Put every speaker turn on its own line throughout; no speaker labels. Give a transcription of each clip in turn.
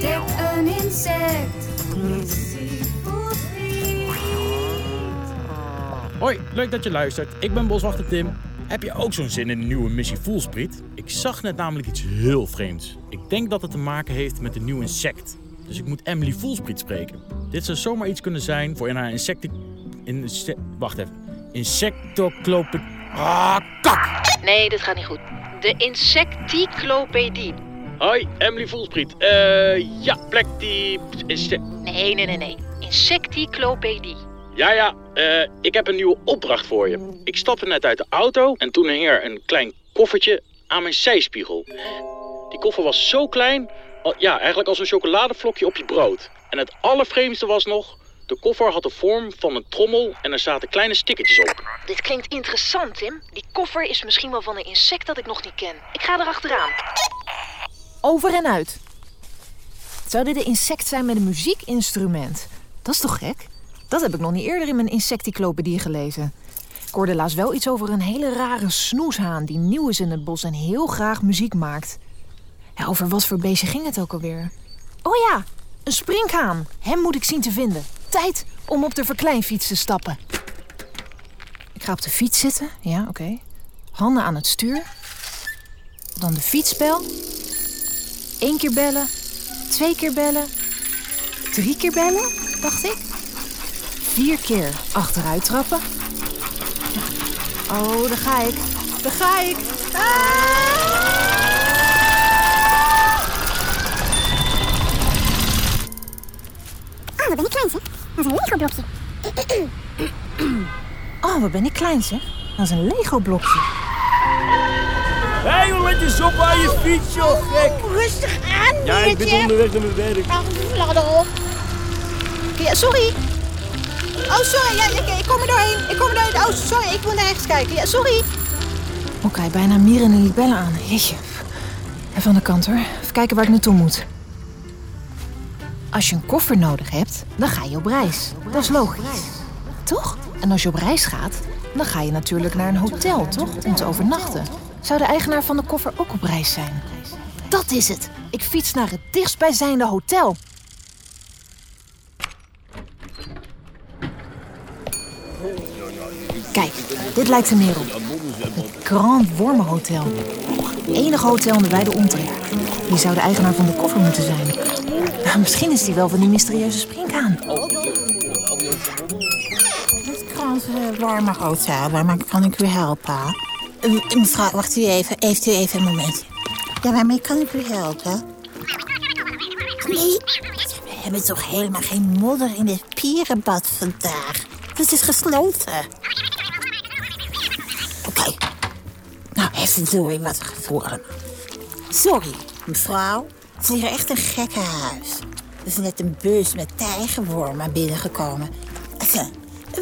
een insect die seafood eet.
Hoi, leuk dat je luistert. Ik ben boswachter Tim. Heb je ook zo'n zin in een nieuwe missie Voelspriet? Ik zag net namelijk iets heel vreemds. Ik denk dat het te maken heeft met een nieuw insect. Dus ik moet Emily Voelspriet spreken. Dit zou zomaar iets kunnen zijn voor in haar insecti... Inse... Wacht even. Insectoclopic... Ah, kak!
Nee, dit gaat niet goed. De insecticlopedie.
Hoi, Emily Voelspriet. Eh, ja, plek die...
Nee, nee, nee, nee. Insecticlopedie.
Ja, ja, eh, ik heb een nieuwe opdracht voor je. Ik stapte net uit de auto en toen hing er een klein koffertje aan mijn zijspiegel. Die koffer was zo klein, al- ja, eigenlijk als een chocoladevlokje op je brood. En het allervreemdste was nog, de koffer had de vorm van een trommel en er zaten kleine stickertjes op.
Dit klinkt interessant, Tim. Die koffer is misschien wel van een insect dat ik nog niet ken. Ik ga erachteraan.
Over en uit. Zou dit een insect zijn met een muziekinstrument? Dat is toch gek? Dat heb ik nog niet eerder in mijn insecticlopedie gelezen. Ik hoorde laatst wel iets over een hele rare snoeshaan die nieuw is in het bos en heel graag muziek maakt. Ja, over wat voor beestje ging het ook alweer? Oh ja, een sprinkhaan. Hem moet ik zien te vinden. Tijd om op de verkleinfiets te stappen. Ik ga op de fiets zitten. Ja, oké. Handen aan het stuur. Dan de fietsbel. Eén keer bellen, twee keer bellen, drie keer bellen, dacht ik. Vier keer achteruit trappen. Oh, daar ga ik. Daar ga ik.
Oh, wat ben ik klein, zeg. Dat is een Lego-blokje.
Oh, wat ben ik klein, zeg. Dat is Oh, een Lego-blokje.
Hé, joh, let eens op aan je fiets, joh, gek.
Oh, Rustig aan,
Ja, ik ben onderweg naar mijn werk.
onderweg.
Ja, sorry.
Oh, sorry. Ja, ik, ik kom er doorheen. Ik kom er doorheen. Oh, sorry. Ik moet naar rechts kijken. Ja, sorry.
Oké, Oh, bijna mieren en libellen aan. Jeetje. Even aan de kant hoor. Even kijken waar ik naartoe moet. Als je een koffer nodig hebt, dan ga je op reis. Dat is logisch. Toch? En als je op reis gaat, dan ga je natuurlijk naar een hotel, toch? Om te overnachten. Zou de eigenaar van de koffer ook op reis zijn? Dat is het. Ik fiets naar het dichtstbijzijnde hotel. Kijk, dit lijkt er meer op. Grand Wormenhotel. Enige hotel in de wijde omtrek. Die zou de eigenaar van de koffer moeten zijn. Maar misschien is die wel van die mysterieuze springkaan.
Het Krant eh, warme hotel, waarmee kan ik u helpen? Eh, Mevrouw, wacht u even. Heeft u even een momentje? Ja, waarmee kan ik u helpen? Nee, we hebben toch helemaal geen modder in dit pierenbad vandaag? Het is gesloten. Oké. Nou, heeft het door wat er gevoel. Sorry, mevrouw. Het is hier echt een gekke huis. Er is net een bus met tijgerwormen binnengekomen. Enfin,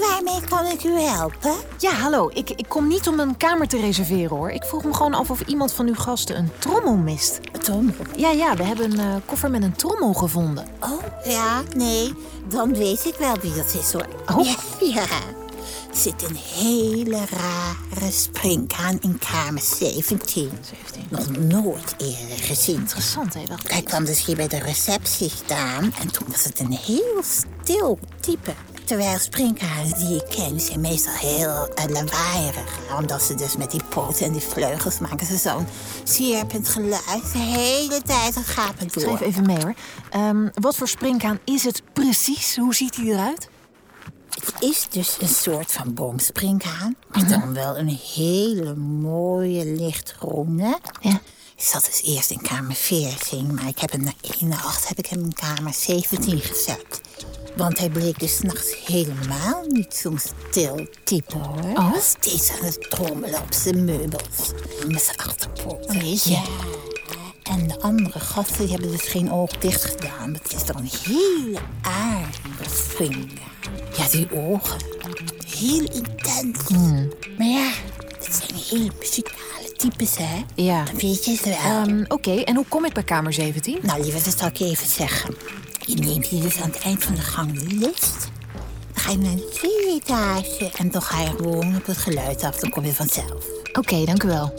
Waarmee kan ik u helpen?
Ja, hallo. Ik, ik kom niet om een kamer te reserveren hoor. Ik vroeg me gewoon af of iemand van uw gasten een trommel mist.
Tom?
Ja, ja, we hebben een eh, koffer met een trommel gevonden.
Oh, ja, nee. Dan weet ik wel wie dat is hoor.
Oh.
Ja, ja. Er zit een hele rare springhaan in kamer 17.
17.
Nog nooit eerder gezien.
Interessant, hè? Wacht.
Hij kwam dus hier bij de receptie staan en toen was het een heel stil type. Terwijl springhazen die ik ken zijn meestal heel eh, lawaaierig. Omdat ze dus met die poten en die vleugels maken ze zo'n sierpend geluid. De hele tijd het gaat me door.
Schrijf even mee hoor. Ehm, wat voor springkaan is het precies? Hoe ziet hij eruit?
Het is dus een soort van boomspringhaan. Maar dan wel een hele mooie lichtgroene.
Ja.
Ik zat dus eerst in kamer 14, maar ik heb hem na één nacht heb ik hem in kamer 17 gezet. Want hij bleek dus 's nachts helemaal niet zo'n stil type hoor. Hij was steeds aan het trommelen op zijn meubels. Met zijn achterpoot. Ja. En de andere gasten die hebben dus geen oog dicht gedaan. Het is dan een hele aardige vinger. Ja, die ogen. Heel intens. Maar ja, het zijn hele muzikale types, hè?
Ja.
Weet je het wel?
Ehm, Oké, en hoe kom ik bij kamer 17?
Nou, lieve, dat zal ik je even zeggen. Je neemt hier dus aan het eind van de gang de lift. Dan ga je naar de tweede etage. En dan ga je gewoon op het geluid af. Dan kom je vanzelf.
Oké, dank u wel.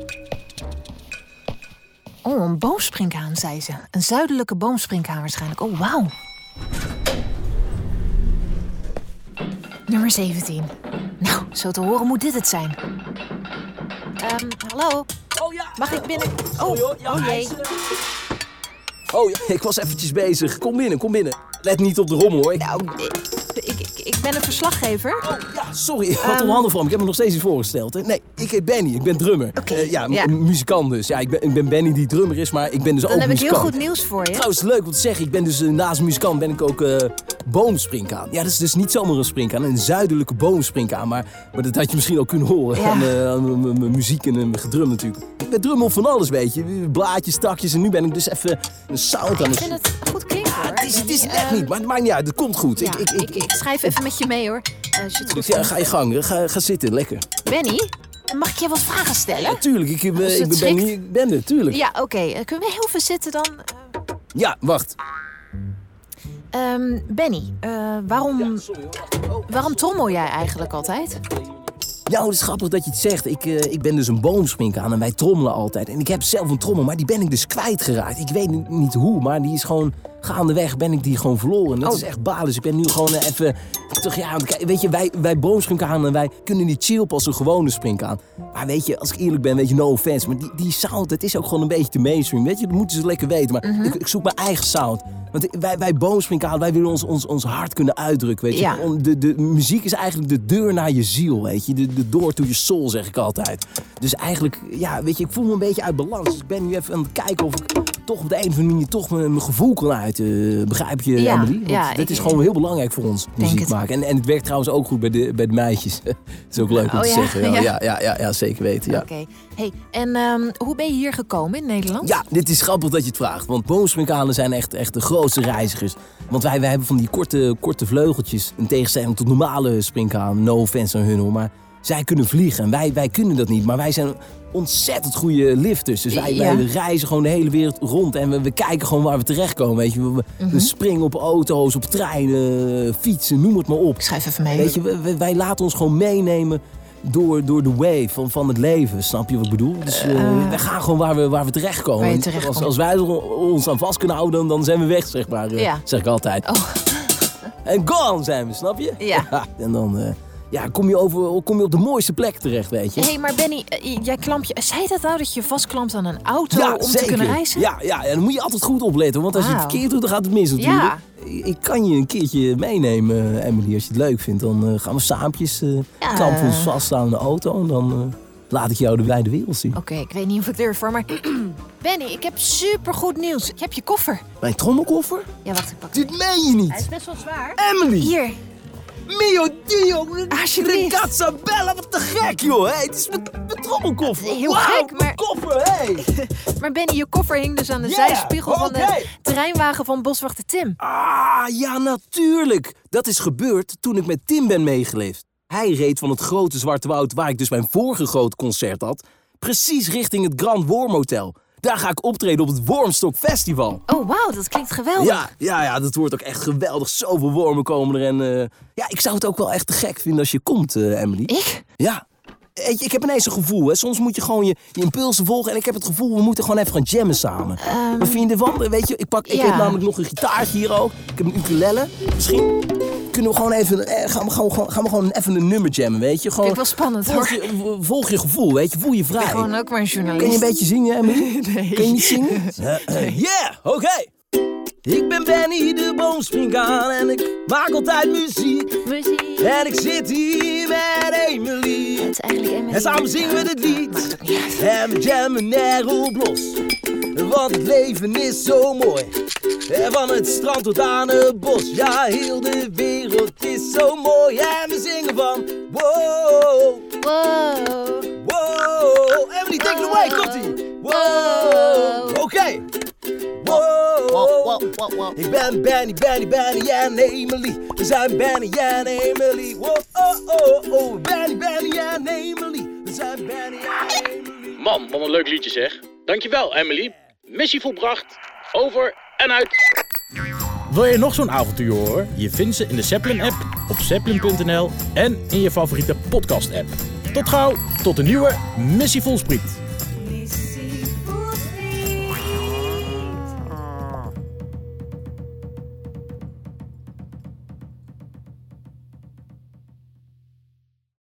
Oh, een boomsprinkhaan, zei ze. Een zuidelijke boomsprinkhaan waarschijnlijk. Oh, wauw. Nummer 17. Nou, zo te horen moet dit het zijn. Ehm, hallo?
Oh ja.
Mag ik binnen? Oh,
ja,
oh
hij
jee.
is er.
Oh ja, ik was eventjes bezig. Kom binnen, kom binnen. Let niet op de rommel hoor.
Nou, ik, ik, ik, ik ben een verslaggever.
Ja, sorry, ik had onder handen van. Ik heb me nog steeds niet voorgesteld. Hè? Nee, ik heet Benny. Ik ben drummer. Eh, ja, m-
ja.
muzikant dus. Ja, ik ben, ik ben Benny die drummer is, maar ik ben dus ook
Dan heb ik
muzikant.
heel goed nieuws voor je.
Trouwens, leuk om te zeggen. Ik ben dus eh, naast muzikant ben ik ook eh boomsprinkaan. Ja, dat is dus niet zomaar een sprinkaan. Een zuidelijke boomsprinkaan. Maar, maar dat had je misschien al kunnen horen.
Ja.
Aan, eh, aan m- m- mijn muziek en eh, mijn gedrum natuurlijk. Ik ben drummer van alles, weet je. Blaadjes, takjes. En nu ben ik dus even een sound
Ik
aan het...
vind het goed klinken, hoor.
Het is, het is
Benny.
echt
Ehm,
niet, maar het maakt niet uit. Het komt goed.
ja, ik, ik, schrijf even met je mee, hoor. Eh, als je het goed
Ja,
vindt.
ga je gang. Ga, ga zitten. Lekker.
Benny, mag ik je wat vragen stellen?
Tuurlijk, ik, heb, eh,
Als het
ik ben,
schikt.
ben, hier- ik ben er, tuurlijk. Ja,
Ja, oké. Eh, Kunnen we heel veel zitten dan?
wacht.
Eh, ehm, Benny, eh, waarom,
Oh.
waarom trommel jij eigenlijk altijd?
Ja, het is grappig dat je het zegt. Ik, eh, ik ben dus een boomsprinkaan en wij trommelen altijd. En ik heb zelf een trommel, maar die ben ik dus kwijtgeraakt. Ik weet niet, niet hoe, maar die is gewoon... Gaandeweg ben ik die gewoon verloren. Dat is echt balen. Dus ik ben nu gewoon eh, even... Toch, ja, want kijk, weet je, wij, wij boomsprinkanen, wij kunnen niet chillen als een gewone sprinkaan. Maar weet je, als ik eerlijk ben, weet je, no offense. Maar die, die sound, dat is ook gewoon een beetje te mainstream. Weet je, dat moeten ze lekker weten. Maar ik, ik zoek mijn eigen sound. Want wij, wij boomsprinkaan, wij willen ons, ons, ons hart kunnen uitdrukken, weet je.
Ja.
Om- de, de muziek is eigenlijk de deur naar je ziel, weet je. De, de door to je soul, zeg ik altijd. Dus eigenlijk, ja, weet je, ik voel me een beetje uit balans. Dus ik ben nu even aan het kijken of ik toch op de een of andere manier toch mijn, mijn gevoel kan uiten. Eh, Begrijp je,
Ja,
Emily? Want
ja,
dit
ik-
is gewoon heel belangrijk voor ons, muziek
het.
maken. En, en het werkt trouwens ook goed bij de, bij de meisjes. dat is ook leuk om
Oh
te
ja?
zeggen.
Ja.
Ja, ja. Ja, ja, ja, zeker weten, ja.
Oké. Hey, en ehm, hoe ben je hier gekomen in Nederland?
Ja, dit is grappig dat je het vraagt. Want boomsprinkhanen zijn echt, echt de grootste reizigers. Want wij, wij hebben van die korte, korte vleugeltjes. In tegenstelling tot normale sprinkhanen. No offense aan hun hoor. Maar zij kunnen vliegen. En wij, wij kunnen dat niet. Maar wij zijn ontzettend goede lifters. Dus wij, wij
Ja.
reizen gewoon de hele wereld rond. En we, we kijken gewoon waar we terechtkomen. Weet je. We, we-
Mhm.
we springen op auto's, op treinen, fietsen, noem het maar op.
Ik schrijf even mee.
Weet je, we- we- wij laten ons gewoon meenemen door, door de wave van, van het leven. Snap je wat ik bedoel? Dus eh, we gaan gewoon waar we, waar we terechtkomen.
Waar je
En
terechtkomt.
Als, als wij er ons aan vast kunnen houden, dan, dan zijn we weg, zeg maar. eh,
Ja.
Zeg ik altijd.
Oh.
En gone zijn we, snap je?
Ja.
en dan eh, ja, kom, je over, kom je op de mooiste plek terecht, weet je.
Hé, hey, maar Benny, eh, jij klamp je... Zei dat nou dat je vastklampt aan een auto
Ja,
om
zeker.
te kunnen reizen?
Ja, ja, en dan moet je altijd goed opletten, want als je het
Wauw.
verkeerd doet, dan gaat het mis natuurlijk.
Ja.
Ik- Ik kan je een keertje meenemen, eh, Emily, als je het leuk vindt. Dan eh, gaan we saampjes, eh
Ja.
klampen ons vast aan de auto en dan eh, laat ik jou de wijde wereld zien.
Oké, ik weet niet of ik durf hoor, maar... Benny, ik heb supergoed nieuws. Ik heb je koffer.
Mijn trommelkoffer?
Ja, wacht, ik pak
Dit meen je niet!
best wel zwaar.
Emily!
Hier,
Mio Dio!
Alsjeblieft.
Ragazza Bella, wat te gek joh! Hey, het is mijn, mijn trommelkoffer!
Heel
Wauw,
gek,
mijn
maar-
koffer, hey!
Maar Benny, je koffer hing dus aan de
Ja,
zijspiegel van
oké.
de treinwagen van boswachter Tim.
Ah, ja, natuurlijk. Dat is gebeurd toen ik met Tim ben meegeleefd. Hij reed van het grote Zwarte Woud, waar ik dus mijn vorige groot concert had, precies richting het Grand Worm Hotel. Daar ga ik optreden op het Wormstok Festival.
Oh, wauw, dat klinkt geweldig.
Ja, ja, ja, dat wordt ook echt geweldig. Zoveel wormen komen er en... eh, ja, ik zou het ook wel echt te gek vinden als je komt, eh, Emily.
Ik?
Ja. Weet je, Ik heb ineens een gevoel, hè. Soms moet je gewoon je, je impulsen volgen. En ik heb het gevoel, we moeten gewoon even gaan jammen samen. Wat vind je ervan? Weet je, ik, pak, ik
Ehm. ja.
heb namelijk nog een gitaartje hier ook. Ik heb een ukulele. Misschien kunnen we gewoon even... eh, gaan, we gewoon, gewoon- gaan we gewoon even een nummer jammen, weet je? Gewoon,
Klinkt wel spannend,
volg
hoor.
Je, volg je gevoel, weet je. Voel je vrij.
Gewoon ook maar een journalist.
Kun je een beetje zingen, Emily?
Nee.
Kun je niet zingen? Eh, eh, yeah, oké. Ik ben Benny de boomspringaan en ik maak altijd muziek.
Muziek.
En ik zit hier met Emily.
Het is eigenlijk Emily.
En samen zingen we dit
Maakt
lied.
ook niet uit.
En we jammen erop los. Want het leven is zo mooi. En van het strand tot aan het bos. Ja, heel de wereld is zo mooi. En we zingen van wow.
Wow.
Wow, Emily, take it away, komt ie. Wow, oké. Wow, ik ben Benny, Benny, Benny en Emily. We zijn Benny en Emily. Wow, oh, oh, oh, Benny, Benny en Emily. We zijn Benny en Emily.
Man, wat een leuk liedje zeg. Dankjewel, Emily. Missie volbracht. Over en uit. Wil je nog zo'n avontuur horen? Je vindt ze in de Zeppelin-app, op zeppelin.nl en in je favoriete podcast-app. Tot gauw, tot een nieuwe Missie Volspriet.